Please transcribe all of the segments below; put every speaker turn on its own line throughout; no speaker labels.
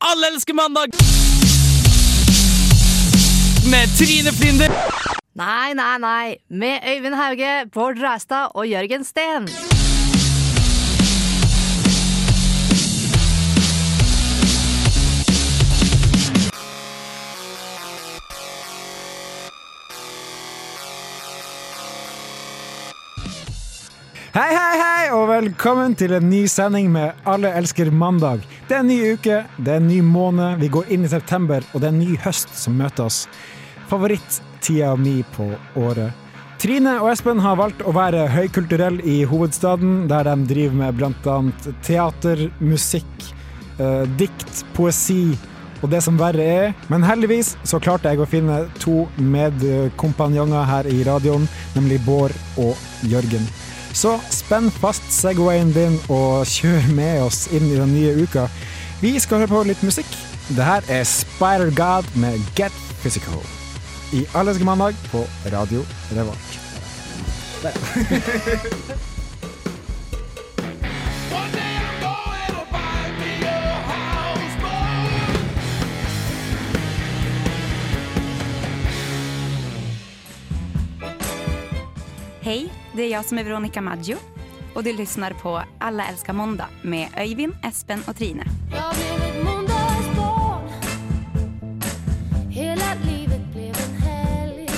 Alle elsker mandag! Med Trine Flinder.
Nei, nei, nei. Med Øyvind Hauge, Bård Reistad og Jørgen Steen.
Hei, hei, hei, og velkommen til en ny sending med Alle elsker mandag. Det er en ny uke, det er en ny måned, vi går inn i september, og det er en ny høst som møter oss. Favorittida mi på året. Trine og Espen har valgt å være høykulturell i hovedstaden, der de driver med blant annet teater, musikk, eh, dikt, poesi og det som verre er. Men heldigvis så klarte jeg å finne to medkompanjonger her i radioen, nemlig Bård og Jørgen. Så spenn fast Segwayen din og kjør med oss inn i den nye uka. Vi skal høre på litt musikk. Det her er Spider God med Get Physical. I Alle elsker mandag på Radio Revolk.
Hej, det är jag som är Veronica Maggio och du lyssnar på Alla älskar måndag med Öyvind, Espen och Trine.
Jag blev ett måndagsbarn Hela livet blev en helg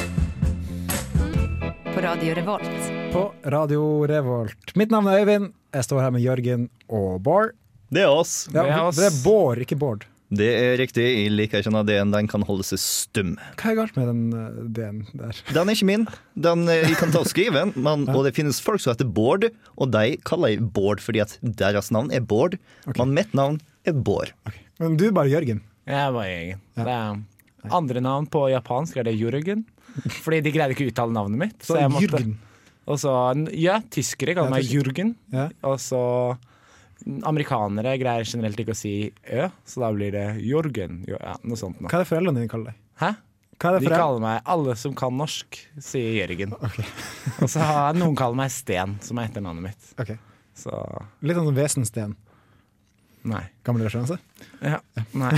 På Radio Revolt.
På Radio Revolt. Mitt navn er Øyvind. Jeg står her med Jørgen og Bård.
Det er oss.
Ja,
Det er oss.
det er Bård, ikke Bård.
Det er riktig. Jeg liker ikke når D-en den kan holde seg stum.
Hva er galt med den eh, D-en der?
Den er ikke min. Den, eh, jeg kan ta og skrive den, men, og det finnes folk som heter Bård, og de kaller jeg Bård fordi at deres navn er Bård, men mitt navn er Bård.
Men du er bare Jørgen.
Jeg var Jørgen. Det er andre navn på japansk er det Jørgen. Fordi de greide ikke å uttale navnet mitt.
Så
jeg måtte-
Jørgen.
Og så, ja, tyskere
Ja,
kaller meg
tyskere.
Jørgen.
Ja.
Og så amerikanere greier generelt ikke å si ø, så da blir det Jørgen. Jo, Ja, noe sånt nå.
Hva er det foreldrene dine kaller deg?
Hæ?
Hva er
De
det foreldre?
kaller meg alle som kan norsk, sier Jørgen. og så har noen kaller meg Sten, som er etternavnet mitt.
Ok.
Så
Litt sånn som Vesensten.
nei.
Gammel referanse.
Ja, nei.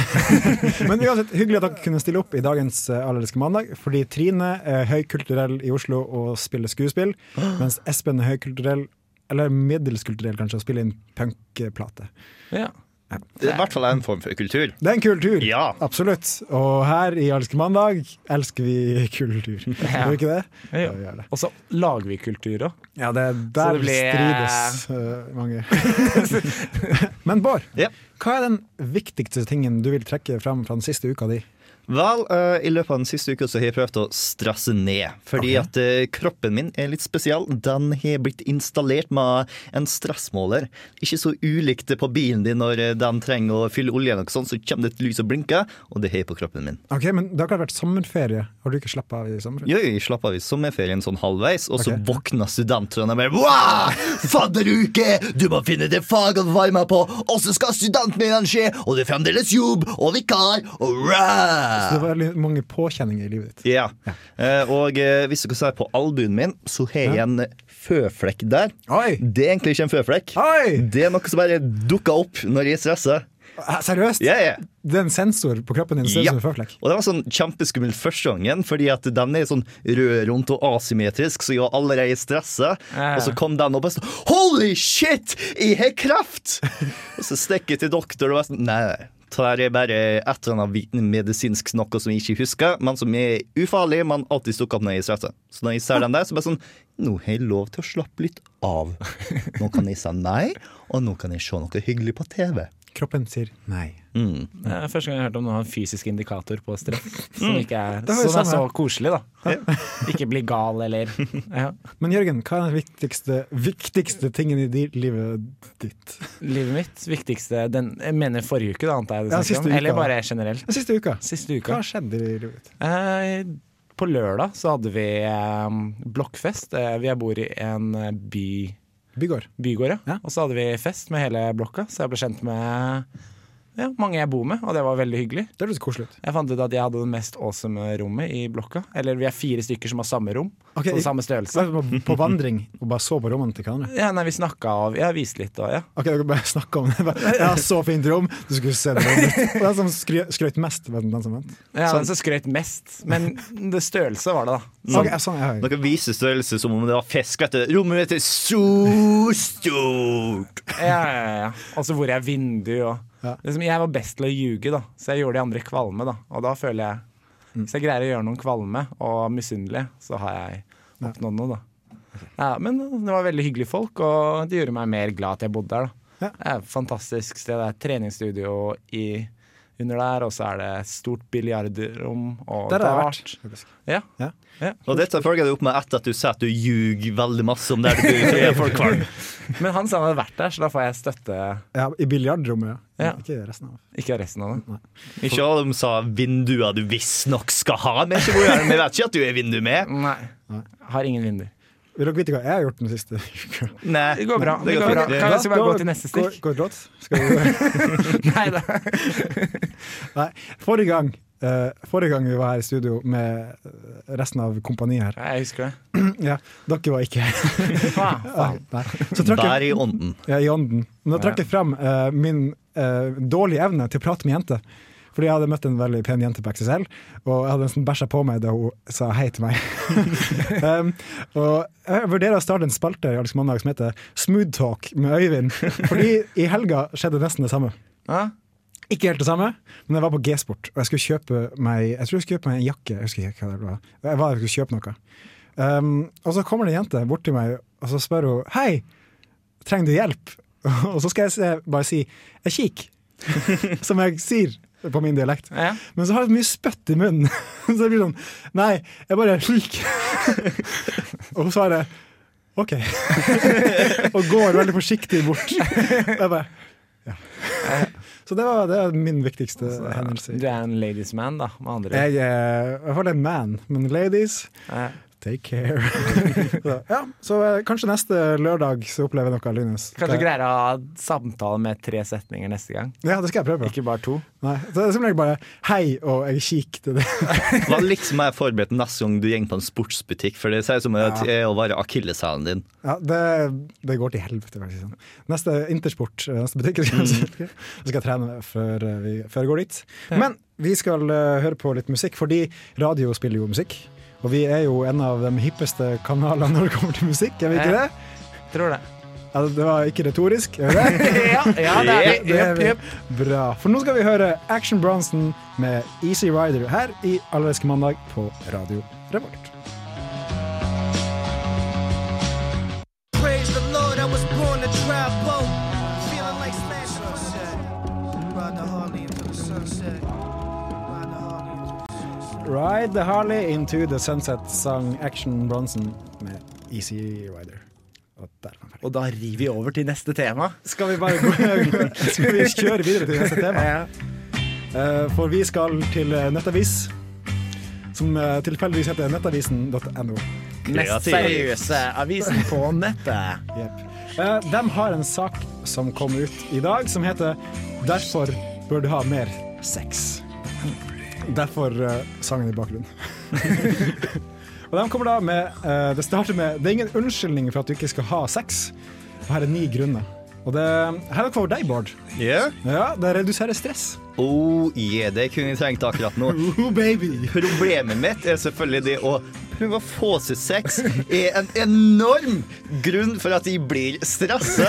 Men uansett, hyggelig at dere kunne stille opp i dagens eh, Allerelske mandag. Fordi Trine er høykulturell i Oslo og spiller skuespill, mens Espen er høykulturell, eller middelskulturell kanskje, og spiller inn punkplate.
Ja.
Det er i hvert fall en form for kultur.
Det er en kul tur,
Ja.
absolutt. Og her i Allerelske mandag elsker vi kultur. Gjør vi ikke det?
Ja.
vi gjør det.
Og så lager vi kultur òg.
Ja, det er der
det blir-
strides eh, mange. Men Bård,
Ja.
hva er den viktigste tingen du vil trekke fram fra den siste uka di?
Vel, eh, i løpet av den siste uka så har jeg prøvd å strasse ned. Fordi at eh, kroppen min er litt spesiell. Den har blitt installert med en stressmåler. Ikke så ulikt det på bilen din når eh, den trenger å fylle olje, eller noe sånt, så kommer det et lys og blinker, og det har jeg på kroppen min.
Ok, men Det har akkurat vært sommerferie. Har du ikke slappet av i sommerferie?
Jo, jeg slapp av i sommerferien sånn halvveis, og så
Ok.
våkna studentene og bare «Wow! Fadderuke! Du må finne det faget å være med på, og så skal studentmiddagen skje, og det er fremdeles jobb og vikar, og rah!
Det var veldig mange påkjenninger i livet ditt.
Ja. Eh, og eh, hvis dere ser på albuen min, så har jeg en føflekk der.
Oi!
Det er egentlig ikke en føflekk.
Oi!
Det er noe som bare dukker opp når jeg stresser.
Hæ, Eh, Seriøst?
Ja, ja.
Det er en sensor på kroppen din. Ser ut
Ja.
som en føflekk.
Og det var sånn kjempeskummelt første gangen, fordi at den er sånn rød rundt og asymmetrisk, så jeg var allerede stressa.
Ja.
Og så kom den opp og sånn Holy shit, jeg har kreft! og så stikker jeg til doktor og var sånn Nei, nei. Tar jeg bare et eller annet viten- medisinsk noe som jeg ikke husker, men som er ufarlig, men alltid dukker opp når jeg er stressa. Så når jeg ser den der, så bare sånn Nå har jeg lov til å slappe litt av. Nå kan jeg si nei, og nå kan jeg se noe hyggelig på TV.
Kroppen sier nei.
Mm.
Det er første gang jeg har hørt om noen fysisk indikator på stress. Som
Mm.
ikke er,
var jo
som er så
samme.
koselig, da. Ikke bli gal, eller ja.
Men Jørgen, hva er den viktigste, viktigste tingen i di- livet ditt?
Livet mitt viktigste den, Jeg mener forrige uke, da, antar jeg.
Ja,
du snakker
siste
om.
uka.
Eller bare generelt.
Den siste uka.
Siste
Hva
uka.
har skjedd i livet ditt?
Eh, på lørdag så hadde vi eh, blokkfest. Eh, vi bor i en eh, by,
Bygård.
bygård, ja.
Ja.
Og så hadde vi fest med hele blokka, så jeg ble kjent med ja, mange jeg bor med, og det var veldig hyggelig.
Det høres koselig ut.
Jeg fant ut at jeg hadde det mest awesome rommet i blokka. Eller vi er fire stykker som har samme rom,
Ok,
så samme størrelse.
Så dere var På vandring og bare så på rommene til hverandre.
Ja, nei, vi snakka og Jeg viste litt og ja.
Ok, Dere bare snakka om det. Bare, Jeg har så fint rom! Du skulle se det rommet. Og Den som skry- skrøt mest, var den som vant.
ja Den som skrøt mest. Men det størrelse var det, da.
Ok, sånn, ja, ja.
Dere viser størrelse som om det var fisk. Vet du. Rommet mitt er så stort!
Ja, ja, ja. Og så hvor jeg vindu og
Ja.
liksom, Jeg var best til å ljuge, da, så jeg gjorde de andre kvalme. da Og da føler jeg
Mm.
Hvis jeg greier å gjøre noen kvalme og misunnelige, så har jeg oppnådd noe, da. Ja, men det var veldig hyggelige folk, og det gjorde meg mer glad at jeg bodde der. da
Ja.
Det er et fantastisk sted. Det er et treningsstudio i, under der, og så er det et stort biljardrom. og
Der har jeg
dart.
vært. faktisk.
Ja.
Ja.
Og dette følger jeg opp med etter at du sier at du ljuger veldig masse om der du bor. så er folk kvalm.
Men han sa han hadde vært der, så da får jeg støtte.
Ja, I biljardrommet, ja.
Ja.
Ikke resten av
Ikke resten av det.
Ikke alle de sa vinduer du visstnok skal ha. Men ikke hvor er det? Vi vet ikke at du er vindu med.
Nei.
Nei.
Har ingen vinduer.
Vil dere vite hva jeg har gjort den siste uka?
Nei,
Det går bra. Det går bra.
fint, det.
Kan jeg
Da-
også bare gå
da-
til neste stikk?
Går, går det rått? Skal vi,
Nei da.
nei, forrige gang, eh, forrige gang vi var her i studio med eh, resten av kompaniet her,
Jeg husker det.
ja, dere var ikke her.
Faen, faen.
Nei. Så trakk
Vær
jeg,
i ånden.
ja, i ånden. Men da trakk jeg frem eh, min eh, dårlige evne til å prate med jenter. Fordi jeg hadde møtt en veldig pen jente på XSL, og jeg hadde nesten bæsja på meg da hun sa hei til meg. um, og jeg vurderer å starte en spalte i Alex Mandag som heter Smooth Talk med Øyvind. Fordi i helga skjedde nesten det samme.
Ja?
Ikke helt det samme, men jeg var på G-sport, og jeg skulle kjøpe meg Jeg tror jeg skulle kjøpe meg en jakke. Jeg husker ikke hva det var. Jeg var jeg skulle kjøpe noe. Um, og så kommer det en jente bort til meg og så spør hun Hei, trenger du hjelp? Og så skal jeg se, bare si Jeg kik, som jeg sier på min dialekt.
Ja.
Men så har jeg så mye spytt i munnen, så det blir sånn Nei, jeg bare kik. og så er det OK. og går veldig forsiktig bort. Og jeg bare så det var, det var min viktigste hendelse.
Du er en ladies man, da, med andre.
Jeg er i hvert fall en man, men ladies,
Ja.
take care. så, ja, så eh, kanskje neste lørdag så opplever jeg noe av Lynes.
Kanskje greier å ha samtale med tre setninger neste gang,
Ja, det skal jeg prøve på.
ikke bare to.
Nei, så det er som regel bare hei og jeg kikk til det.
Vær litt mer liksom forberedt neste gang du går på en sportsbutikk, for det ser ut som at det er å være akilleshælen din.
Ja, det, det går til helvete, faktisk. sånn. Neste Intersport, eh, neste butikk, skal jeg, si. Så skal jeg trene før, eh, vi, før jeg går dit. Men vi skal eh, høre på litt musikk, fordi radio spiller jo musikk. Og vi er jo en av de hippeste kanalene når det kommer til musikk, er vi ikke
Ja.
det?
Tror det.
Ja, det var ikke retorisk. Er det?
Ja, ja det er vi.
Det er
Jepp,
vi.
jepp.
Bra. For nå skal vi høre Action Bronson med Easy Rider her i Allerske mandag på Radio Revolt. Ride the Harley into the sunset, sang Action Bronson med Easy Rider. Og der var den ferdig.
Og da river vi over til neste tema.
Skal vi bare gå Skal vi kjøre videre til neste tema? Eh, For vi skal til eh, Nettavis, som eh, tilfeldigvis heter nettavisen.no.
Mest seriøse avisen på nettet.
Jep. Eh, De har en sak som kom ut i dag, som heter 'Derfor bør du ha mer sex'. Derfor eh, sangen i bakgrunnen. Og de kommer da med eh, Det starter med Det er ingen unnskyldning for at du ikke skal ha sex. Og her er ni grunner. Og det her er noe for deg, Bård.
Yeah.
Ja, det reduserer stress.
Oh yeah, det kunne jeg trengt akkurat nå.
Oh, baby!
Problemet mitt er selvfølgelig det å prøve å få seg sex er en enorm grunn for at jeg blir stressa.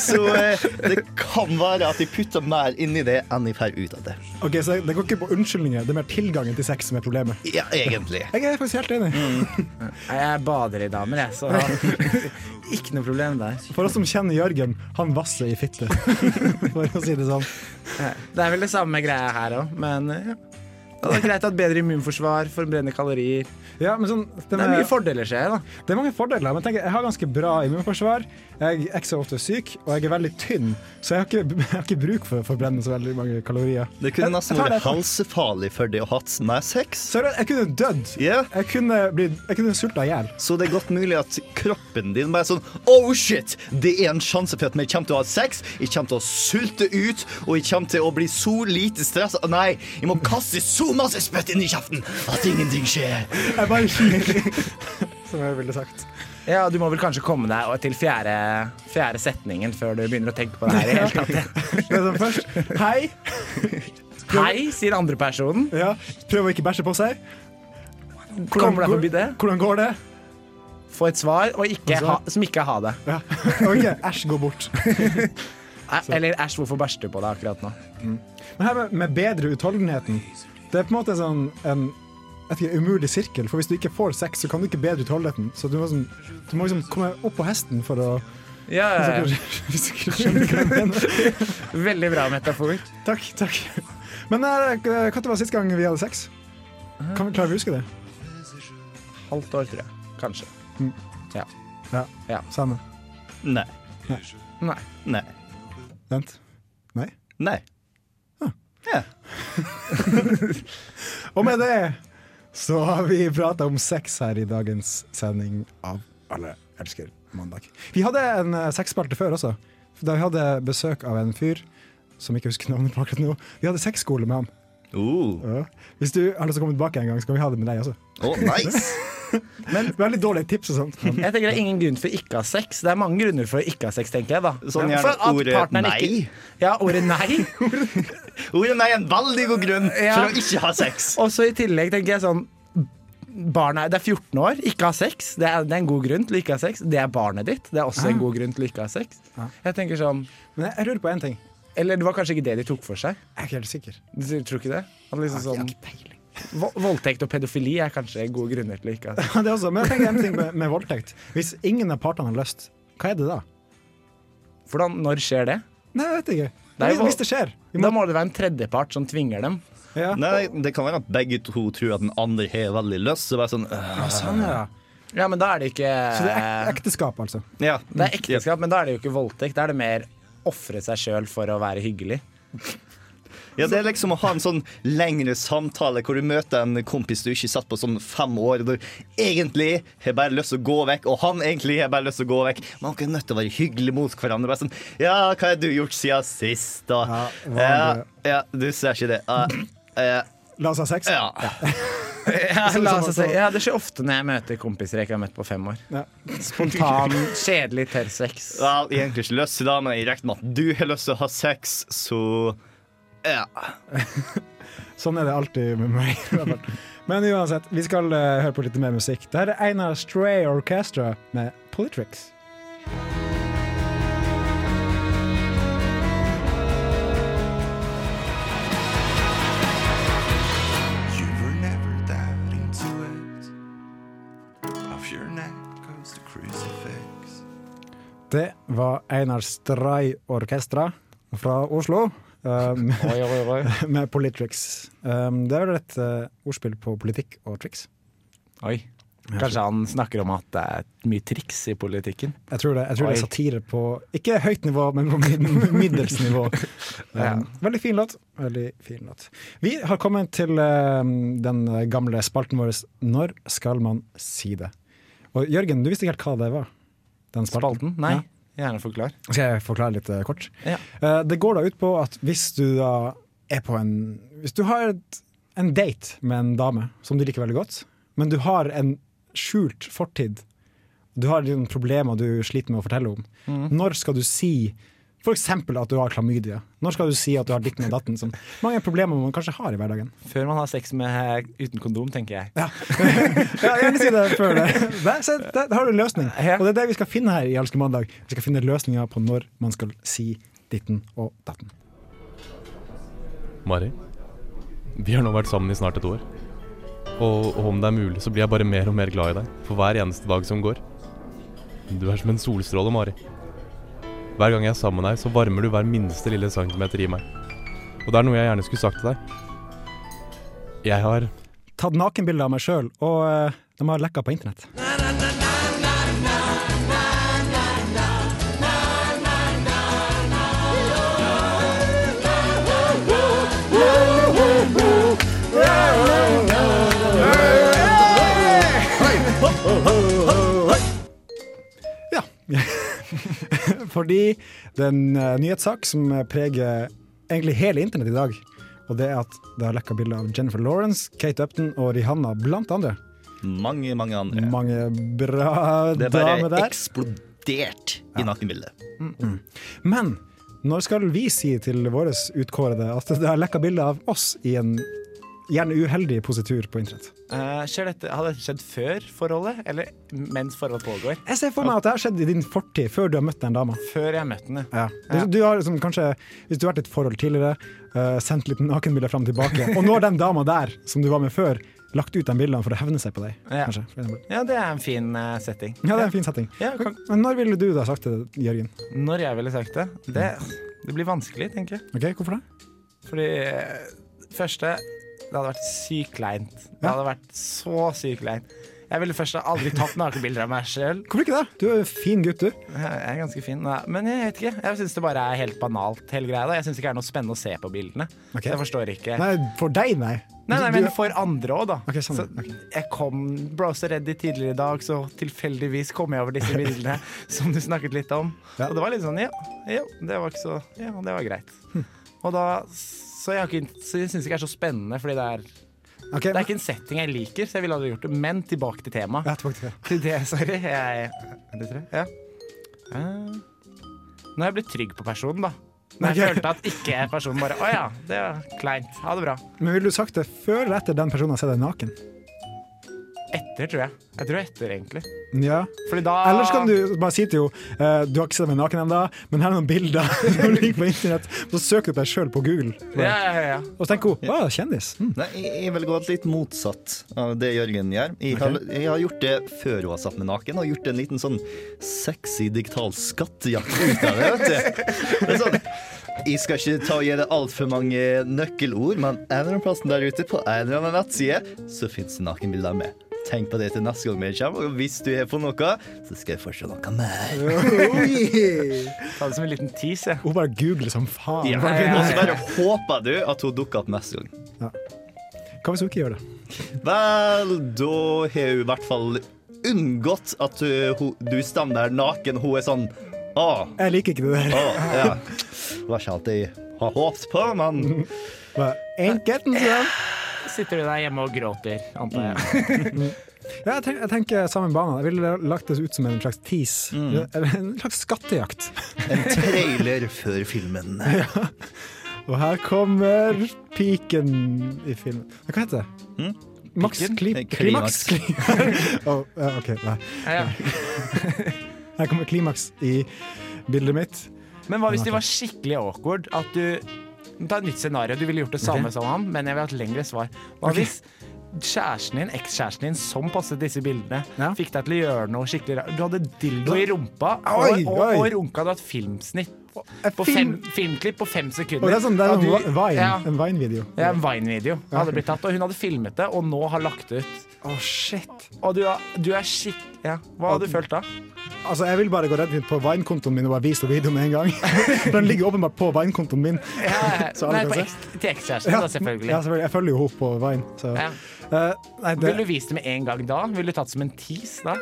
Så eh, det kan være at jeg putter mer inn i det enn jeg får ut av det.
Ok, så Det går ikke på unnskyldninger, det er mer tilgangen til sex som er problemet.
Ja, egentlig.
Jeg er faktisk helt enig.
Nei, Jeg bader i damer, jeg, så ikke noe problem der.
For oss som kjenner Jørgen, han vasser i fitte. For å si det sånn.
Det er vel det samme greia her òg, men ja. Det er greit å ha et bedre immunforsvar, forbrenne kalorier.
Ja, men sånn, det,
Det er mye
med,
fordeler, ser jeg. da
det er mange fordeler, men jeg tenker, jeg har ganske bra immunforsvar. Jeg er ikke så ofte syk, og jeg er veldig tynn, så jeg har ikke, jeg har ikke bruk for å forbrenne så veldig mange kalorier.
Det kunne nesten
Jeg tar
vært
det.
halsefarlig for deg å ha med sex.
Seriøst, jeg kunne dødd.
Ja.
Jeg kunne, blitt- jeg kunne sulta i hjel.
Så det er godt mulig at kroppen din bare er sånn Oh shit! Det er en sjanse for at vi kommer til å ha sex. Jeg kommer til å sulte ut, og jeg kommer til å bli så lite stressa Nei, jeg må kaste så masse spytt inn i kjeften at ingenting skjer.
Jeg bare skyter, som jeg ville sagt.
Ja, Du må vel kanskje komme deg og- til fjerde, fjerde setningen før du begynner å tenke på det her. i hele tatt.
Det er sånn først, hei.
Hei, sier andre personen.
Ja, prøv å ikke bæsje på seg.
Kommer deg forbi det.
Hvordan går det?
Få et svar og ikke ha, som ikke er ha det.
Ja. Ok, æsj, gå bort.
Æ- Eller æsj, hvorfor bæsjer du på deg akkurat nå?
Men her med, med bedre utholdenheten, det er på en måte en sånn en jeg vet ikke, umulig sirkel. For hvis du ikke får sex, så kan du ikke bedre utholdenheten. Så du må, sånn, du må liksom komme opp på hesten for å
Ja, ja, ja.
Hvis du ikke skjønner hva jeg mener.
Veldig bra metafor.
Takk, takk. Men eh, når var sist gang vi hadde sex? Kan vi, klarer vi å huske det?
Halvt år, tror jeg. Kanskje.
Ja.
Ja.
Samme.
Nei.
Nei.
Nei.
Vent. Nei.
Nei. Ja.
Og med det så har vi prata om sex her i dagens sending av Alle elsker mandag. Vi hadde en eh, sexspalte før også, da vi hadde besøk av en fyr som ikke husker navnet på akkurat nå. Vi hadde sexskole med han.
Uh.
Ja. Hvis du har lyst til å komme tilbake en gang, så kan vi ha det med deg også.
Oh, nice.
Veldig dårlige tips og sånt. Men,
Jeg tenker Det er ingen grunn for ikke å ha sex. Det er mange grunner for å ikke ha sex, tenker jeg. da
Sånn
Ja,
gjerne
for at
ordet
partneren
nei.
Ikke, ja, ordet nei.
Ordet Oh, nei er en veldig god grunn
Ja.
for å ikke ha sex.
Og så i tillegg tenker jeg sånn Barna, det er 14 år, ikke ha sex. Det er, det er en god grunn til å ikke ha sex. Det er barnet ditt. Det er også
Ah.
en god grunn til å ikke ha sex. Jeg tenker sånn
men jeg, jeg lurer på én ting.
Eller det var kanskje ikke det de tok for seg.
Jeg er ikke helt sikker.
Du tror ikke det? At liksom sånn Vo- Voldtekt og pedofili er kanskje gode grunner til å ikke ha sex.
Det også, men jeg tenker en ting med, med voldtekt. Hvis ingen av partene har lyst, hva er det da?
Hvordan, når skjer det?
Nei, jeg vet ikke.
Det er jo-
Hvis det skjer. Vi
Da
må,
må det være en tredjepart som tvinger dem.
ja.
Nei, Det kan være at begge to tror at den andre har veldig lyst. Så bare sånn øh.
Sånn, ja.
Ja, men da er det ikke
Så det er ek ekteskap, altså.
ja.
Det er ekteskap, men da er det jo ikke voldtekt. Da er det mer ofre seg sjøl for å være hyggelig.
Ja, Det er liksom å ha en sånn lengre samtale hvor du møter en kompis du ikke satt på sånn fem år, og du egentlig har bare lyst til å gå vekk, og han egentlig har bare lyst til å gå vekk. Man er ikke nødt til å være hyggelig mot hverandre. Bare sånn, ja, hva har du gjort siden sist, da?
Ja, hva
Ja,
har
ja, du ser ikke det. Ja, ja,
La oss ha sex.
ja.
Ja, la oss
så-
si. ja, det skjer ofte når jeg møter kompiser jeg ikke har møtt på fem år.
Ja.
Spontan, kjedelig tørr sex.
Vel, egentlig ikke lyst til det, men jeg regner med at du har lyst til å ha sex, så ja.
Sånn er det alltid med meg. i hvert fall. Men uansett, vi skal eh, høre på litt mer musikk. Dette er Einar Stray Orchestra med Politrix.
You were never that into it. Off your neck goes the crucifix.
Det var Einar Stray Orchestra fra Oslo um,
Oi, oi, oi.
med Politrix. Um, det er vel et eh, ordspill på politikk og triks?
oi. Kanskje han snakker om at det er mye triks i politikken.
Jeg tror det, jeg tror det er
Oi.
satire på Ikke høyt nivå, men på mid- middels nivå.
Ja.
Um, Veldig fin låt. Veldig fin låt. Vi har kommet til um, den gamle spalten vår 'Når skal man si det?' Og Jørgen, du visste ikke helt hva det var? Den spalten.
Spalten? Nei. Gjerne forklar.
Skal jeg forklare litt eh, kort?
Ja.
Eh, det går da ut på at hvis du da er på en Hvis du har et, en date med en dame som du liker veldig godt, men du har en skjult fortid, du har noen problemer du sliter med å fortelle om, når skal du si F.eks. at du har klamydia. Når skal du si at du har ditten og datten? Som mange problemer man kanskje har i hverdagen.
Før man har sex med uten kondom, tenker jeg.
Ja, jeg vil si det før det. Der, se, der, der har du en løsning.
Ja.
Og det er det vi skal finne her i Elsker mandag. Vi skal finne løsninger på når man skal si ditten og datten.
Mari, vi har nå vært sammen i snart et år. Og, og om det er mulig, så blir jeg bare mer og mer glad i deg for hver eneste dag som går. Du er som en solstråle, Mari. Hver gang jeg er sammen med deg, så varmer du hver minste lille centimeter i meg. Og det er noe jeg gjerne skulle sagt til deg. Jeg har
tatt nakenbilder av meg sjøl, og eh, De har lekka på internett. Ja. Fordi det er en eh, nyhetssak som preger egentlig hele internett i dag. Og det er at det har lekka bilder av Jennifer Lawrence, Kate Upton og Rihanna, blant andre.
Mange, mange andre.
Mange bra
det er bare
damer der.
eksplodert i nakenbildet.
Men når skal vi si til våre utkårede at det har lekka bilder av oss i en gjerne uheldig positur på internett?
Eh, skjer dette, har dette skjedd før forholdet, eller mens forholdet pågår?
Jeg ser for meg at det har skjedd i din fortid, før du har møtt den dama.
Før jeg møtte henne.
Ja. Du, du har liksom kanskje, hvis du har vært i et forhold tidligere, eh, sendt litt nakenbilder fram og tilbake, og nå har den dama der, som du var med før, lagt ut de bildene for å hevne seg på deg.
Ja.
Kanskje, for eksempel.
Ja, det er en fin eh, setting.
ja, det er en fin setting.
Ja, kan-
Men når ville du da sagt det, Jørgen?
Når jeg ville sagt det, det Det blir vanskelig, tenker jeg.
Ok, Hvorfor det?
Fordi eh, første Det hadde vært sykt kleint. Det
Ja.
hadde vært så sykt kleint. Jeg ville først aldri tatt nakenbilder av meg sjøl.
Hvorfor ikke det? Du er jo en fin gutt, du.
Jeg er ganske fin, da. men jeg vet ikke. Jeg syns det bare er helt banalt, hele greia. da Jeg syns ikke det er noe spennende å se på bildene.
Ok.
Så jeg forstår ikke.
Nei, for deg, nei.
Nei, nei,
Du-
men
du-
for andre òg, da.
Ok, sånn,
så,
ok.
Jeg kom Browser Ready tidligere i dag, så tilfeldigvis kom jeg over disse bildene som du snakket litt om.
Ja.
Og det var litt sånn ja, ja, det var ikke så Ja, det var greit.
Hm.
Og da Så jeg, har ikke- så jeg syns ikke det er så spennende, fordi det er,
Ok,
det er ikke en setting jeg liker, så jeg ville aldri gjort det. Men tilbake til temaet.
ja, tilbake til det.
Til det, sorry. Jeg, det tror jeg. Ja. Eh, Nå har jeg blitt trygg på personen, da. Når jeg
Ok.
følte at ikke personen bare Å ja, det er kleint. Ha det bra.
Men ville du sagt det før eller etter den personen har sett deg naken?
Etter, tror jeg. Jeg tror etter, egentlig.
Ja.
Fordi da
Ellers kan du bare si til henne eh, Du har ikke sett meg naken ennå, men her er noen bilder som ligger på internett. Så søker du opp deg sjøl på Google,
ja, ja, ja, ja.
og så tenker hun å, kjendis. Hm.
Nei, jeg, jeg vil gå litt motsatt av det Jørgen gjør. Jeg, har, jeg har gjort det før hun har satt meg naken, og gjort en liten sånn sexy digital skattejakt ut av det. vet du. Det er sånn, jeg skal ikke ta og gi deg altfor mange nøkkelord, men en eller annen plass der ute på en eller annen nettside, så fins det nakenbilder med. Tenk på det til neste gang vi kommer, og hvis du er på noe, så skal jeg få se noe mer.
Ta det som en liten tease, jeg.
Hun bare googler som faen.
Ja,
ja, ja.
Og så bare håper du at hun dukker opp neste gang.
Hva hvis hun ikke gjør det?
Vel, da har hun i hvert fall unngått at uh, hun, du stammer der naken. Hun er sånn Å,
Jeg liker ikke det der.
å, ja. Det var ikke alt jeg har håpet på, men
Bare, Enkelt, men sånn.
Sitter du der hjemme og gråter, antar
Mm.
jeg.
Ja, jeg, tenk, jeg tenker samme bane. Jeg ville lagt det ut som en slags tease.
Mm.
Eller En slags skattejakt.
en trailer før filmen.
Og her kommer piken i filmen. Hva heter det? Max
Hm? Piken?
kli
Eh,
Klimaks.
klimaks.
Å, ja, OK, nei.
Ja, ja.
Her kommer klimaks i bildet mitt.
Men hva hvis de var skikkelig awkward? At du Ta et nytt scenario. Du ville gjort det samme som han, men jeg ville hatt lengre svar. Hva
Ok.
hvis kjæresten din, ekskjæresten din, som passet disse bildene,
Ja.
fikk deg til å gjøre noe skikkelig rart? Du hadde dildo i rumpa, og,
Oi,
og,
oi.
og runka du hadde et filmsnitt.
Jeg
På fem,
film-
filmklipp på fem sekunder.
Og det er sånn, det er
Ja,
en
du-
vi- vine,
Ja.
en Vine-video.
Ja, en Vine-video hadde blitt tatt, og hun hadde filmet det, og nå har lagt det ut.
Å, shit.
Og du, er- du er skikk... Ja. Hva hadde du følt da?
Altså, Jeg vil bare gå redd inn på Vine-kontoen min og bare vise videoen med en gang. For den ligger åpenbart på Vine-kontoen min. Så alle
Nei,
kan
på
se.
eks, til ekskjæresten, da,
Ja,
selvfølgelig.
selvfølgelig. Jeg følger jo henne på Vine. Så.
Ja.
Eh, nei, det,
Ville du vist det med en gang da? Ville du tatt det som en tease da?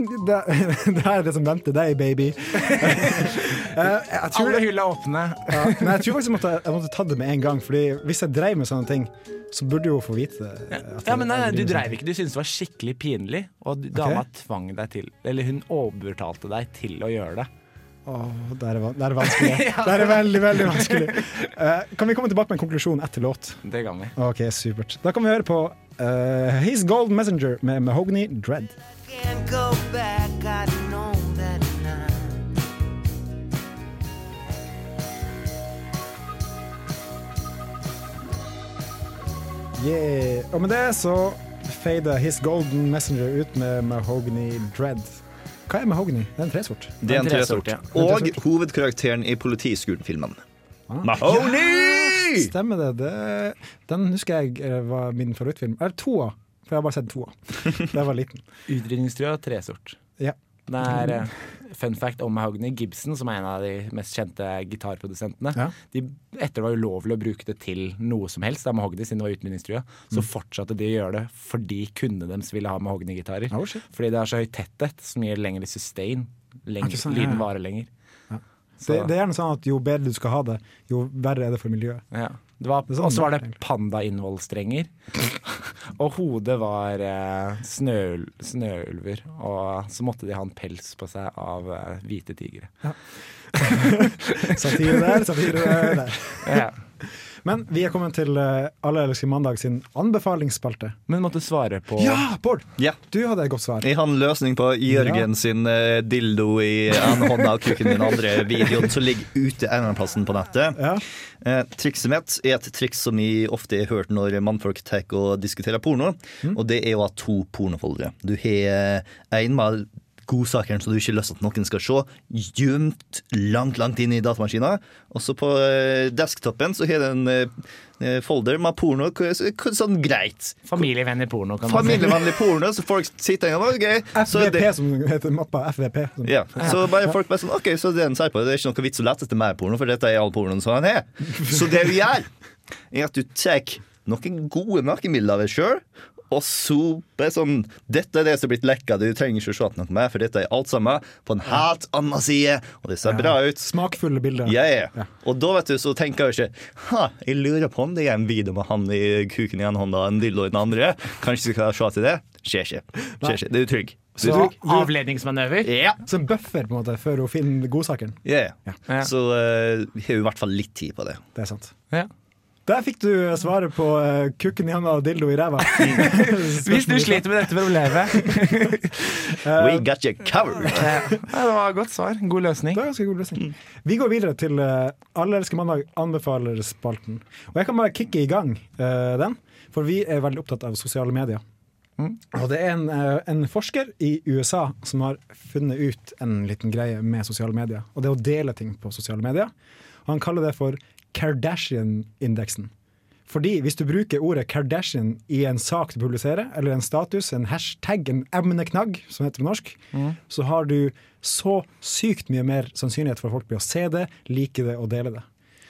det, det her er det som venter deg, baby. Eh, jeg, tror,
Alle hylla åpne.
ja, men jeg tror faktisk jeg måtte, jeg måtte ta det med en gang, Fordi hvis jeg dreiv med sånne ting, så burde hun få vite det. at
Ja, men nei, nei,
jeg
Du
driver med sånn.
dreiv ikke, du syntes det var skikkelig pinlig. Og du- dama tvang deg til Eller hun overtalte deg til å gjøre det.
sånne- Åh, det her er van- det her er vanskelig. Det her er veldig, veldig vanskelig. Eh, kan vi komme tilbake med en konklusjon etter låt?
Det kan vi.
Ok, supert. Da kan vi høre på eh, His Gold Messenger med Mahogany Dread.
can't go back, I know that now.
Yeah. Og med det så fader His Golden Messenger ut med Mahogany Dread. Hva er Mahogany? Det er en tresort.
Det er en tresort. Og hovedkarakteren i Politiskolen-filmen. Mahoney!
Stemmer det. det. Den husker jeg eh, var min favorittfilm. Eller to av. For jeg har bare sett to av da jeg var liten.
Utrydningstrua tresort.
Ja.
Det er eh, fun fact om Mahogny. Gibson, som er en av de mest kjente gitarprodusentene,
Ja.
de, etter det var ulovlig å bruke det til noe som helst, da Mahogny siden det var utrydningstrua,
Mm.
så fortsatte de å gjøre det fordi kundene deres ville ha Mahogny-gitarer.
Oh, shit.
fordi det er så høy tetthet som gir lengre sustain. Leng,
Ikke sant, ja,
lyden
ja.
varer lenger.
Det, det er gjerne sånn at jo bedre du skal ha det, jo verre er det for miljøet.
Ja. Det var,
er sånn
og så var det
det
panda-innvollstrenger. og hodet var eh, snøul, snøulver. Og så måtte de ha en pels på seg av eh, hvite tigre.
Satire der, satire der.
Ja.
Men vi er kommet til eh, Alle elsker mandag sin anbefalingsspalte.
Men måtte svare på
Ja, Bård!
Ja.
Du hadde et godt svar.
Jeg har en løsning på Jørgen sin eh, dildo i en hånd av kuken i den andre videoen som ligger ute en eller annen plassen på nettet.
Ja.
Eh, trikset mitt er et triks som jeg ofte har hørt når mannfolk tar og diskuterer porno, og det er å ha to pornofoldere. Du har én med godsakeren som du ikke har lyst til at noen skal se, gjemt langt, langt inn i datamaskina, og så på eh, desktopen så har du en eh, folder med porno, k- k- sånn greit.
familievenner porno. Kan man si.
Familievennlig porno, så folk sitter inne og bare, ok, så
FVP,
det
som heter mappa. FVP. Som,
ja, så bare folk bare sånn Ok, så det den sier på, det er ikke noe vits å lete etter mer porno, for dette er all pornoen som han har. Så det du gjør, er at du tar noen gode nakenbilder av deg sjøl, og så bare sånn Dette er det som er blitt lekka, du trenger ikke å se etter noe mer, for dette er alt sammen på en helt annen side, og det ser bra ut.
Smakfulle bilder.
Ja, ja. ja. Og da vet du, så tenker jeg jo ikke Ha, jeg lurer på om det er en video med han i kuken i en hånd og en dildo i den andre. Kanskje skal jeg se til det? Skjer ikke. Skjer ikke. Det er utrygg.
Så, du,
Avledningsmanøver.
Ja.
så en buffer på en måte før hun finner godsakeren.
Yeah.
Ja.
Så eh, vi har jo i hvert fall litt tid på det.
Det er sant.
Ja.
Der fikk du svaret på eh, kukken i handa og dildo i ræva.
Hvis du sliter med dette problemet.
We got you covered!
Ja, det var et godt svar. God løsning.
Det var ganske god løsning. Vi går videre til eh, Alle elsker mandag anbefaler spalten. Og jeg kan bare kicke i gang eh, den, for vi er veldig opptatt av sosiale medier. Og det er en, eh, en forsker i USA som har funnet ut en liten greie med sosiale medier. Og det er å dele ting på sosiale medier. Og han kaller det for Kardashian-indeksen. Fordi hvis du bruker ordet Kardashian i en sak du publiserer, eller en status, en hashtag, en emneknagg, som heter på norsk,
Mm.
så har du så sykt mye mer sannsynlighet for at folk blir å se det, like det og dele det.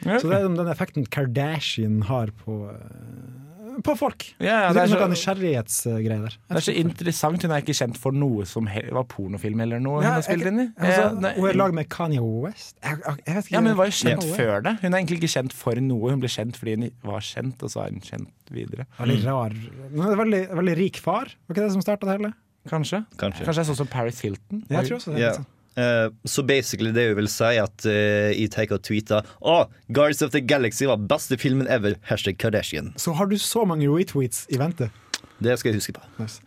Så det er den- den effekten Kardashian har på, eh, på folk.
Ja, ja,
det
det
er
er
noe
så-
nysgjerrighetsgreier der.
Det er så interessant. Hun er ikke kjent for noe som he- var pornofilm eller noe hun har spilt inn i. Eh,
altså,
nei,
hun er lag med Kanye West. Jeg, jeg, jeg vet ikke.
ja, men hun var jo kjent
Kanye West.
før det. Hun er egentlig ikke kjent for noe. Hun ble kjent fordi hun var kjent, og så er hun kjent videre.
Veldig rar. Men det er veldig, veldig rik far, var ikke det som starta det hele?
Kanskje?
Kanskje.
Kanskje det er sånn som Paris Hilton?
Jeg tror også det. er
Ja.
litt sånn.
Eh, så basically det jeg vil si, er at eh, jeg tar og tweeter Å, Guards of the Galaxy var beste filmen ever. Hashtag Kardashian.
Så har du så mange retweets i vente.
Det skal jeg huske på.
Nice.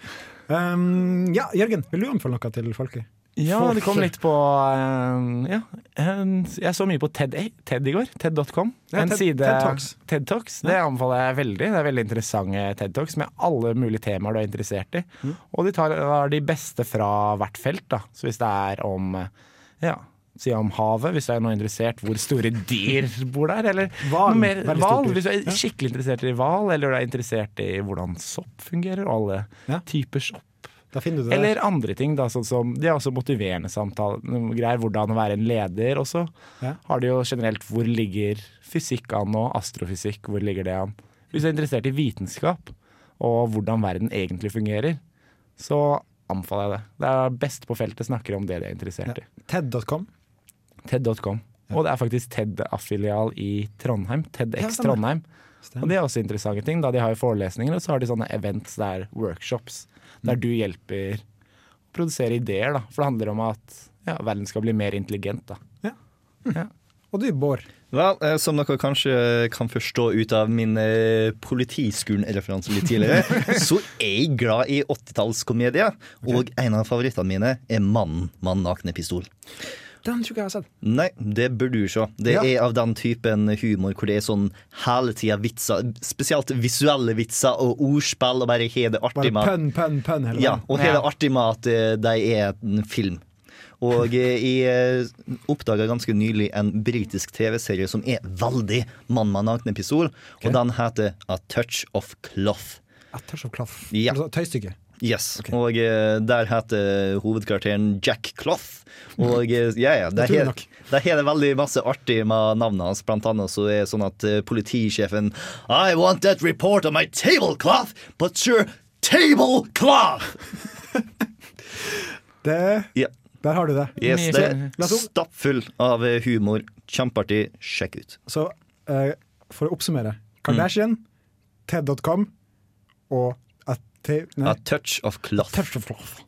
Um, ja, Jørgen, vil du anbefale noe til folket?
Ja, det kom litt på eh, Ja. en- Jeg så mye på TED, i- TED i går. TED.com.
Ja,
en
TED
side
TED Talks.
TED Talks. Det anbefaler jeg veldig. Det er veldig interessante TED Talks med alle mulige temaer du er interessert i.
Mm.
Og de tar er de beste fra hvert felt, da. Så hvis det er om eh, Ja. Si om havet, hvis du er noe interessert hvor store dyr bor der. Eller
Hval,
noe mer
veldig stort
hval.
dyr.
Hvis du er skikkelig interessert i hval, eller du er interessert i hvordan sopp fungerer, og alle
Ja.
typer sopp.
Da finner du det
Eller andre ting, da, sånn som De har også motiverende samtaler, noen greier, hvordan å være en leder. Og så
Ja.
har de jo generelt hvor ligger fysikk an, og astrofysikk, hvor ligger det an. Hvis du er interessert i vitenskap, og hvordan verden egentlig fungerer, så anbefaler jeg det. Det er best på feltet snakker om det de er interessert i.
der. TED.com.
TED.com. Og det er faktisk TED-affilial i Trondheim.
Ja,
TEDX
stemmer.
Trondheim.
Stemmer.
Og det er også interessante ting. da De har jo forelesninger, og så har de sånne events der, workshops,
Mm.
der du hjelper å produsere ideer. da For det handler om at ja, verden skal bli mer intelligent. da
Og du, Bård.
Vel, eh, som dere kanskje eh, kan forstå ut av min eh, politiskolen-referanse litt tidligere, så er jeg glad i 80-tallskomedier. Og en av favorittene mine er 'Mannen med den nakne pistol'.
Den tror ikke jeg har sett.
Nei, det bør du se. Det
Ja.
er av den typen humor hvor det er sånn hele tida vitser, spesielt visuelle vitser og ordspill, og bare har det
Bare
artig med
pønn, pønn, pønn hele
ja,
veien.
og har det artig med at eh, de er en film. Og eh, jeg oppdaga ganske nylig en britisk TV-serie som er veldig mann med nakne pistol, og den heter A Touch of Cloth.
Ettersom klaff.
Ja.
Altså, tøystykke.
Yes.
Ok.
Og eh, der heter hovedkarakteren Jack Cloth. Og eh, ja, ja, der
tror jeg
he-
nok.
der er det veldig masse artig med navnet hans. Blant annet så er det sånn at eh, politisjefen I want that report on my tablecloth, but your tablecloth!
Det,
Ja,
der har du det.
yes, det
La
er
oss-
stappfull av eh, humor. Kjempeartig. Sjekk ut.
Så eh, for å
Mm.
oppsummere. Kardashian, TED.com og at, te, nei,
A touch of cloth.
Touch of Love.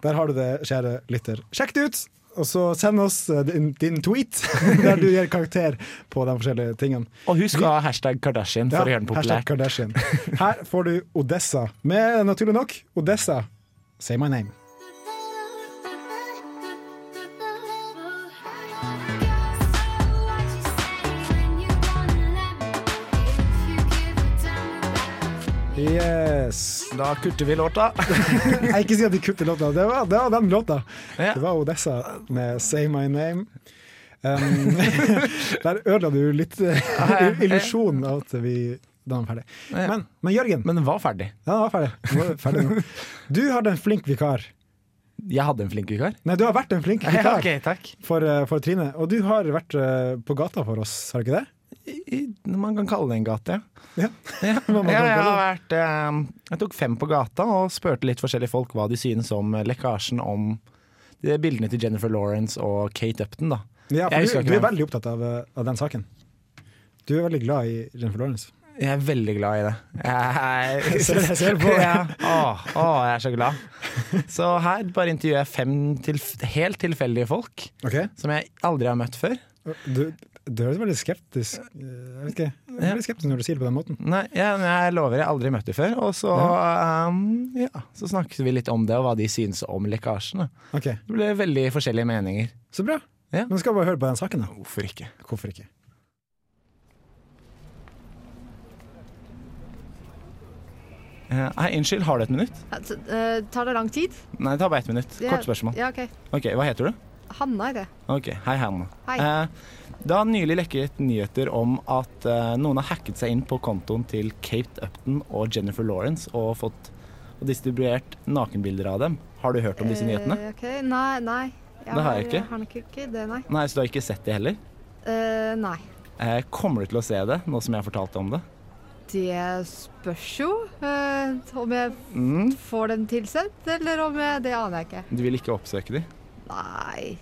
Der har du det, kjære lytter. Sjekk det ut! Og så send oss eh, din, din tweet, der du gir karakter på de forskjellige tingene.
Og husk å ha hashtag Kardashian for å gjøre den populær.
hashtag Kardashian. Her får du Odessa med, naturlig nok, Odessa Say My Name. Yes.
Da kutter vi låta.
Jeg kan ikke si at de kutter låta. Det var, det var den låta.
Ja.
Det var Odessa med Say My Name. Um, der ødela du litt eh, illusjonen av at vi Da er den ferdig.
Ja.
Men, men Jørgen,
Men den var ferdig.
ja, den var ferdig. Nå er vi ferdig nå. Du hadde en flink vikar.
Jeg hadde en flink vikar.
Nei, du har vært en flink
Ja,
vikar
ok, takk.
for, eh, for Trine. Og du har vært eh, på gata for oss, har du ikke det?
I, man kan kalle det en gate, ja.
Ja.
Ja,
Hva man
ja,
kan
jeg har
kalle
vært eh, Jeg tok fem på gata og spurte litt forskjellige folk hva de synes om eh, lekkasjen om de bildene til Jennifer Lawrence og Kate Upton, da.
Ja,
Jeg
for du,
husker ikke
du er
hvem.
veldig opptatt av, eh, av den saken. Du er veldig glad i Jennifer Lawrence.
Jeg er veldig glad i det. Jeg, jeg,
Ser det- ser det på deg.
Ja. Åh, åh, jeg er så glad. Så her bare intervjuer jeg fem til, helt tilfeldige folk som jeg aldri har møtt før.
Du, du høres veldig skeptisk eh, Jeg vet ikke, jeg er
Ja.
veldig skeptisk når du sier det på den måten.
Nei, ja, men jeg lover, jeg har aldri møtt dem før. Og så, ehm, ja, så snakket vi litt om det, og hva de synes om lekkasjene.
Ok,
Det ble veldig forskjellige meninger.
Så bra.
Ja.
Men skal vi bare høre på den saken, da.
Hvorfor ikke?
Hvorfor ikke?
Eh, Hei, unnskyld, har du et minutt?
Altså, eh, tar det lang tid?
Nei, ta bare ett minutt.
Ja,
Kort spørsmål.
Ja, ok.
Ok, Hva heter du?
Hanna er det.
Ok, Hei, Hanna.
Hei.
Eh, det har nylig lekket nyheter om at eh, noen har hacket seg inn på kontoen til Kate Upton og Jennifer Lawrence og fått og distribuert nakenbilder av dem. Har du hørt om disse nyhetene?
Eh, ok, Nei, nei. Jeg
Det har jeg ikke.
Har nok ikke det, nei.
Nei, Så du har ikke sett det heller?
Eh, nei.
Eh, kommer du til å se det, nå som jeg har fortalt om det?
Det spørs jo eh, om jeg
Mm.
får den tilsendt, eller om jeg Det aner jeg ikke.
Du vil ikke oppsøke dem?
Nei.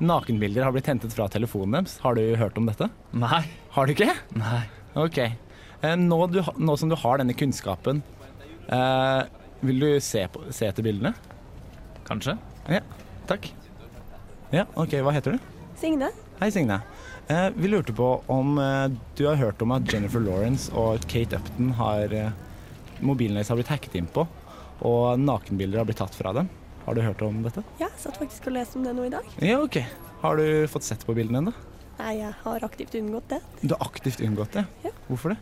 Nakenbilder har blitt hentet fra telefonen deres. Har du hørt om dette?
Nei.
Har du ikke? Nei. Ok. Eh, Nå, du, ha- nå som du har denne kunnskapen, eh, vil du se, på, se etter bildene?
Kanskje?
Ja, takk. Ja, ok, hva heter du?
Signe?
Hei, Signe. Eh, vi lurte på om eh, du har hørt om at Jennifer Lawrence og Kate Upton har eh, Mobilen deres har blitt hacket inn på, og nakenbilder har blitt tatt fra dem. Har du hørt om dette?
Ja, satt faktisk og leste om det nå i dag.
Ja, ok. Har du fått sett på bildene ennå?
Nei, jeg har aktivt unngått det,
Du har aktivt unngått det?
Ja.
Hvorfor det?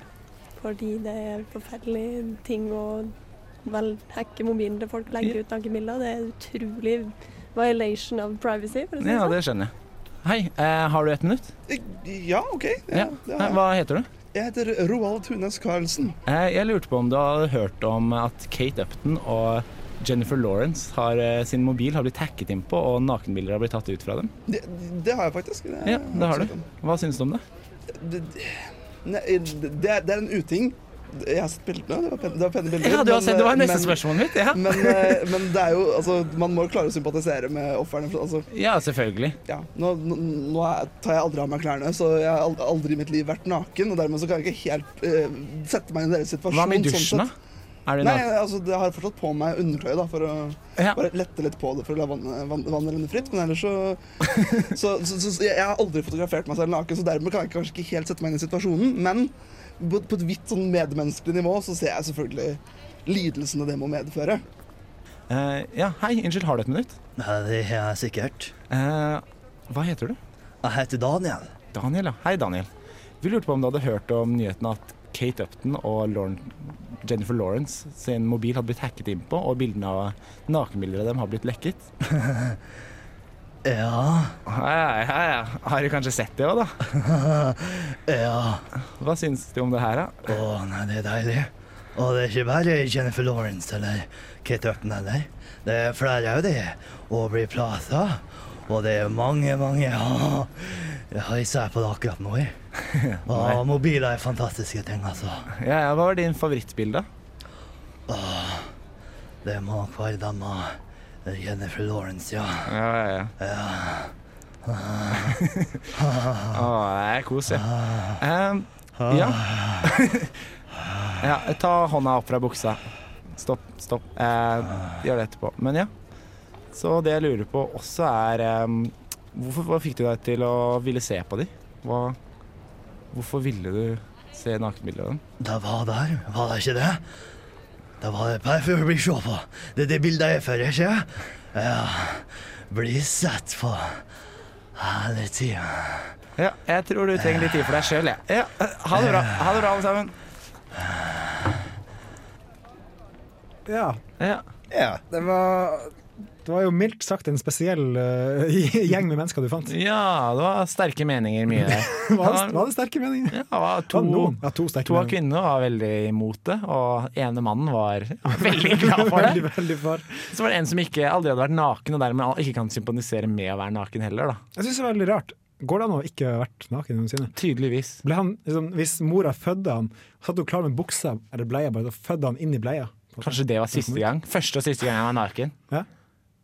fordi det er forferdelig ting å vel hacke mobilen til folk, legge ut nakenbilder. Det er utrolig violation of privacy, for å si det
Ja,
sånn.
det skjønner jeg. Hei, eh, har du et minutt?
Ja, OK. Det,
Ja.
det
Nei,
har jeg.
Hva heter du?
jeg heter Roald Thunes Karlsen.
Eh, jeg lurte på om du har hørt om at Kate Upton og Jennifer Lawrence har, eh, sin mobil har blitt hacket inn på, og nakenbilder har blitt tatt ut fra dem.
Det, det har jeg faktisk. Det, sånn.
Ja, det har du. Hva syns du om det?
Det, nei, det, det er- det er en uting. Jeg har sett bildene. Det var pen- det var pene bilder.
Ja, du har
men- eh,
sett, det var neste
men-
spørsmålet mitt. Ja,
Men, eh, men det er jo altså, Man må jo klare å sympatisere med ofrene. for Altså,
ja selvfølgelig.
ja. nå, nå, nå er- tar jeg aldri av meg klærne, så jeg har al- aldri i mitt liv vært naken. Og dermed så kan jeg ikke helt eh, sette meg i deres situasjon.
Hva med
sånn
dusjen, da?
sett.
Er du
Nei,
naken?
altså, jeg har fortsatt på meg undertøyet, da, for å
Ja.
bare lette litt på det for å la vannet, vann- vannet renne fritt. Men ellers så, så, så, så, så jeg, jeg har aldri fotografert meg selv naken, så dermed kan jeg kanskje ikke helt sette meg inn i situasjonen. Men på, på et vidt sånn medmenneskelig nivå så ser jeg selvfølgelig lidelsene det må medføre.
Eh, ja, hei, unnskyld, har du et minutt?
Nei, det har jeg sikkert.
Eh, hva heter du?
Jeg heter Daniel.
Daniel, ja. Hei, Daniel. Vi lurte på om du hadde hørt om nyheten at Kate Upton og Lauren, Jennifer Lawrence sin mobil hadde blitt hacket inn på, og bildene av nakenbilder av dem har blitt lekket.
Ja,
Ja, ja, ja, ja. Har du kanskje sett det òg, da?
ja.
Hva syns du om det her, da?
Å, nei, det er deilig. Og det er ikke bare Jennifer Lawrence eller Kate Upton heller. Det er flere av de. Aubrey Plaza. Og det er mange, mange ja. Jeg ser på det akkurat nå. jeg. Og mobiler er fantastiske ting, altså.
Ja, ja, hva var din favorittbilde?
Åh, det må nok være denne Jennifer Lawrence, ja.
Ja, ja, ja. Å, det er kos, ja. Ehm, ja. ja. Ta hånda opp fra buksa. Stopp, stopp. Eh, gjør det etterpå. Men ja. Så det jeg lurer på også er ehm, hvorfor, Hva fikk du deg til å ville se på de? Hva, hvorfor ville du se nakenbildet av dem?
Det var der, var det ikke det? Det var det bare for å bli se på. Det er det bildet jeg er for, ikke sant? Ja. Bli sett på hele tida.
Ja, jeg tror du trenger litt tid for deg sjøl, jeg. Ja. Ha det bra, ha det bra alle sammen.
Ja.
Ja.
Det var det var jo mildt sagt en spesiell eh, gjeng med mennesker du fant.
Ja, det var sterke meninger mye der.
Var det, var det sterke meninger?
Ja, det var
Det var
to,
noen. Ja, to sterke
to av
meninger.
kvinnene var veldig imot det, og ene mannen var veldig glad for det.
Veldig, veldig for.
Så var det en som ikke aldri hadde vært naken, og dermed ikke kan sympatisere med å være naken heller. da.
Jeg synes det er veldig rart. Går det an å ikke ha vært naken noensinne?
Tydeligvis.
Ble han, liksom, hvis mora fødte han, satt hun klar med buksa eller bleia, bare da fødte han inn i bleia.
Kanskje det var siste gang. Første og siste gang jeg var naken.
Ja.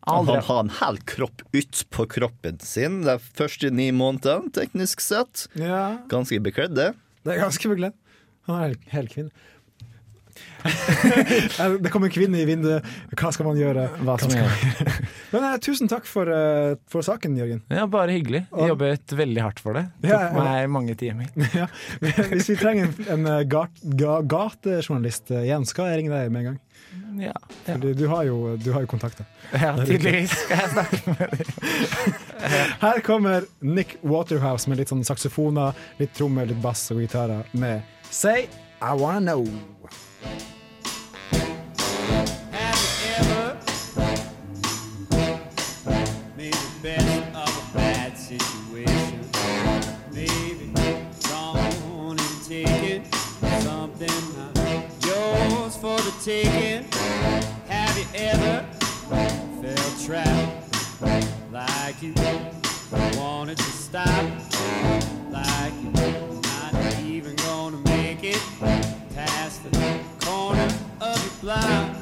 Aldri.
Han har en hel kropp ut på kroppen sin de første ni månedene, teknisk sett.
Ja,
Ganske bekledd, det.
det er ganske bekledd. Han er hel, hel kvinne. Eh, det kom en kvinne i vinduet. Hva skal man gjøre?
Hva som
skal-
helst.
Men, eh, tusen takk for, eh, for saken, Jørgen.
Ja, bare hyggelig. Jeg jobbet veldig hardt for det. Det
Ja,
tok
ja.
meg mange timer.
Ja. Hvis vi trenger en, en eh, gat, ga, gatejournalist eh, igjen, skal jeg ringe deg med en gang.
Ja, ja.
Fordi du har jo, du har jo kontakter.
ja tydeligvis skal jeg snakke med
Her kommer Nick Waterhouse med litt sånn saksofoner, litt trommer, litt bass og gitarer med Say I Wanna Know.
Made the best of a bad situation. Maybe someone and take it. Something not yours for the taking. Have you ever felt trapped? Like you wanted to stop. Like you're not even gonna make it past the corner of your block.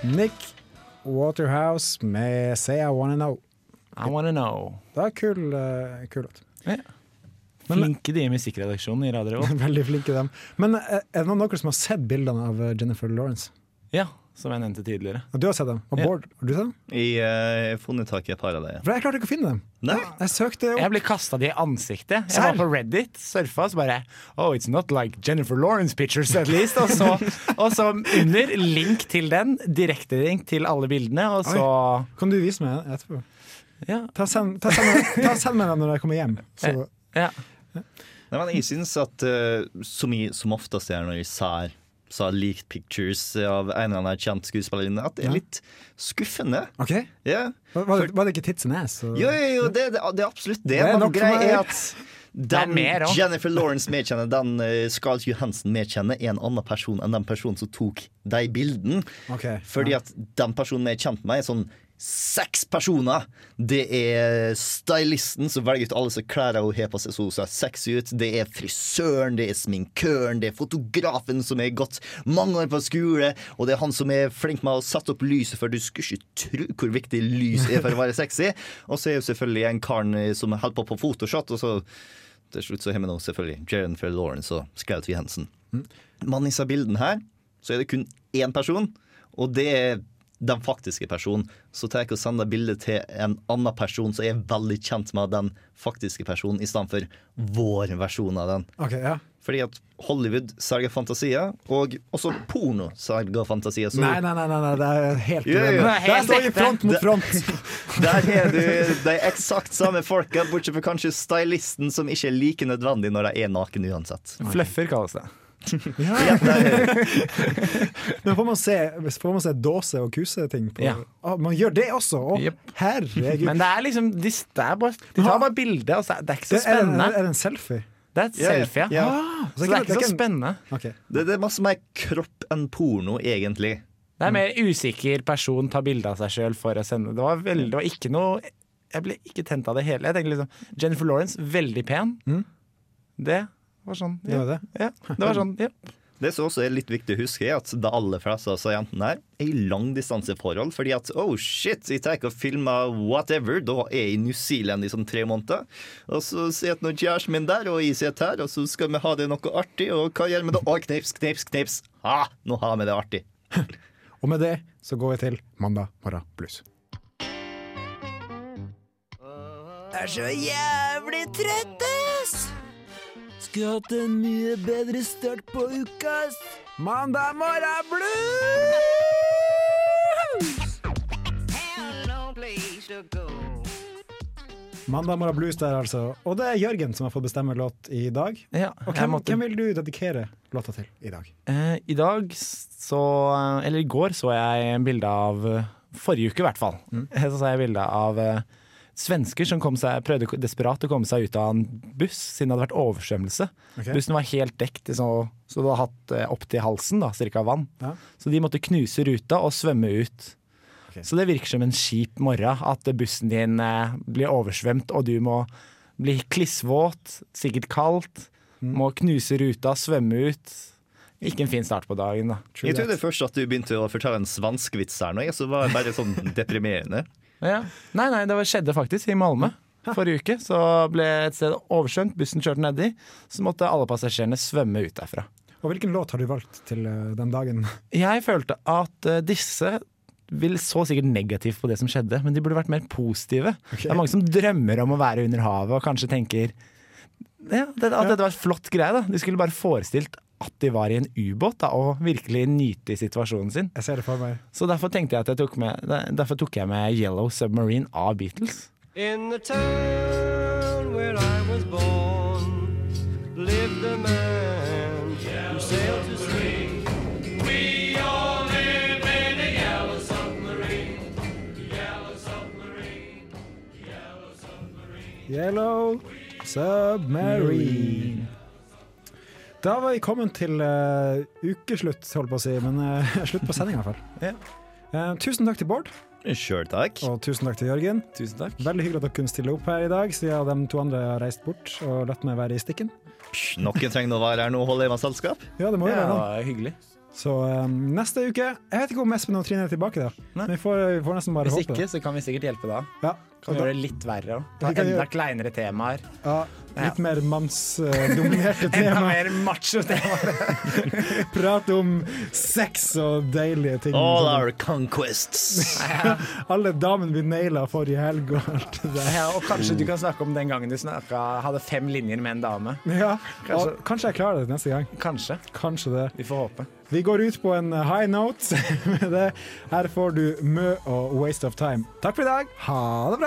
Nick Waterhouse med Say I Wanna Know.
I wanna know.
Det var kul, eh, kul låt.
Flinke de i musikkredaksjonen i Radio Revolt.
Veldig flinke dem. Men eh, er det noen av dere som har sett bildene av eh, Jennifer Lawrence?
Ja, som jeg nevnte tidligere.
Ja, Du har sett dem. Og
Ja.
Bård, har du sett dem?
Jeg eh, har funnet tak i et par av dem.
For jeg klarte ikke å finne dem.
Nei.
Jeg søkte opp.
Jeg ble kasta det i ansiktet. Jeg
Serr?
var på Reddit, surfa, og så bare Oh, it's not like Jennifer Lawrence pictures, at least. Og så, og så under, link til den. Direktelink til alle bildene, og så
Kan du vise meg etterpå?
Ja.
Ta send, ta send, meg- ta send meg dem når jeg kommer hjem. Så.
ja.
Nei, men jeg syns at eh, som, jeg, som oftest er når jeg ser, ser leaked pictures av en eller annen kjent skuespillerinne, at det er litt skuffende.
Ok?
Ja.
Var, var, det, var det ikke tits and ass? og-
Jo, jo, jo, det, det, det er absolutt det.
Det er
Men
nok for
greia
meg.
er at
er
den
mer også.
Jennifer Lawrence medkjenner, den eh, Scarlett Johansen medkjenner, er en annen person enn den personen som tok de bildene.
Ok.
Fordi at den personen jeg er kjent med, er sånn seks personer. Det er stylisten som velger ut alle som klærne hun har på seg så hun ser sexy ut. Det er frisøren, det er sminkøren, det er fotografen som har gått mange år på skole, og det er han som er flink med å sette opp lyset, for du skulle ikke tro hvor viktig lys er for å være sexy. Og så er jo selvfølgelig en karen som holder på på Photoshop, og så til slutt så har vi nå selvfølgelig Jennifer Lawrence og Scout Jensen. Men i disse bildene her, så er det kun én person, og det er den faktiske personen. Så tar jeg og sender bildet til en annen person som er veldig kjent med den faktiske personen, istedenfor vår versjon av den.
Ok, ja.
Fordi at Hollywood selger fantasier, og også porno selger fantasier. Så
Nei, nei, nei, nei, nei, det er helt
Jo, jo.
uenig. Der står vi front mot
Det-
front.
Der har du de eksakt samme folka, bortsett fra kanskje stylisten, som ikke er like nødvendig når de er naken uansett.
Fluffer kalles det.
Nå får man se, får man se dåse og kuseting. på-
Ja.
Å, man gjør det også! Å, Herregud.
Men det er liksom De, det er bare, de tar bare bilde. Altså, det er ikke så
Det er-
spennende.
Er det en selfie?
Det er et
Ja, ja.
selfie, ja.
Ja.
Ah,
Så
så
det
det
er
er
ikke-
ikke så spennende.
Det, det er masse mer kropp enn porno, egentlig.
Det er mer usikker person tar bilde av seg sjøl for å sende. Det var, veldig, det var ikke noe Jeg ble ikke tent av det hele. Jeg tenkte liksom Jennifer Lawrence, veldig pen. Det var sånn.
Mm.
Ja.
Det var det.
Ja, det var sånn, ja.
Det som også er litt viktig å huske, er at det aller fleste av disse jentene her er i langdistanseforhold. Fordi at oh shit, jeg tar ikke og filmer whatever, da er jeg i New Zealand i sånn tre måneder. Og så sitter nå kjæresten min der, og jeg sitter her, og så skal vi ha det noe artig, og hva gjør vi da? Å, knips, knips, knips. Ha, nå har vi det artig.
Og med det så går vi til Mandag morgen pluss.
Jeg er så jævlig trøtt, ass!
Skulle hatt en mye bedre start på uka, ass. Mandag morgen blues! Mandag morgen blues der, altså. Og det er Jørgen som har fått bestemme låt i dag. og
jeg
hvem,
måtte-
hvem vil du dedikere låta til i dag?
Eh, I dag så eh, Eller i går så jeg bilde av eh, Forrige uke, i hvert fall.
Mm.
Så så jeg bilde av eh, svensker som kom seg, prøvde desperat å komme seg ut av en buss, siden det hadde vært oversvømmelse.
Ok.
Bussen var helt dekt, i så, så det hadde hatt eh, opp til halsen da, cirka vann.
Ja.
Så de måtte knuse ruta og svømme ut. Så det virker som en kjip morgen at bussen din eh, blir oversvømt, og du må bli klissvåt, sikkert kaldt,
Mm.
må knuse ruta, svømme ut. Ikke en fin start på dagen, da.
Jeg trodde først at du begynte å fortelle en svenskvits her nå, jeg, så var jeg bare sånn deprimerende.
Ja. Nei, nei, det var- skjedde faktisk i Malmö. Forrige uke så ble et sted oversvømt, bussen kjørte nedi. Så måtte alle passasjerene svømme ut derfra.
Og hvilken låt har du valgt til eh, den dagen?
Jeg følte at eh, disse vil så sikkert negativt på det som skjedde, men de burde vært mer positive. Det er mange som drømmer om å være under havet og kanskje tenker ja, det, at dette var et flott greie. da. De skulle bare forestilt at de var i en ubåt da, og virkelig nyte i situasjonen sin.
Jeg ser det for meg.
Så derfor tenkte jeg at jeg tok med, derfor tok jeg med Yellow Submarine av Beatles.
In the town where I was born lived a man who sailed to sea. We all live in a yellow submarine. Yellow submarine.
Yellow Submarine. Da var vi kommet til eh, ukeslutt, holdt på å si, men eh, slutt på sending i hvert fall. Eh, tusen takk til Bård.
Sjøl takk.
Og tusen takk til Jørgen. Veldig hyggelig at dere kunne stille opp her i dag, siden de to andre har reist bort og latt meg være i stikken.
Psh, Noen trenger å være her nå og holde meg selskap.
Ja, det må jo være noe.
hyggelig.
Så eh, neste uke Jeg vet ikke om Espen og Trine er tilbake, da. Men vi får, vi får nesten bare
Hvis
håpe.
ikke, så kan vi sikkert hjelpe da.
Ja.
Kan
Og da-
gjøre det litt verre òg.
Vi kan
Enda
gjøre-
kleinere temaer.
Ja, litt mer mannsdominerte
Enda
tema.
mer macho temaer.
Prate om sex og deilige ting.
All
Sånn.
our conquests.
Alle damene vi naila forrige helg og alt det der.
Ja, og kanskje du kan snakke om den gangen du snakka, hadde fem linjer med en dame.
Ja,
Kanskje-
og kanskje jeg klarer det neste gang.
Kanskje.
Kanskje det.
Vi får håpe.
Vi går ut på en eh, high note med det. Her får du Mø og Waste of Time. Takk for i dag. Ha det bra!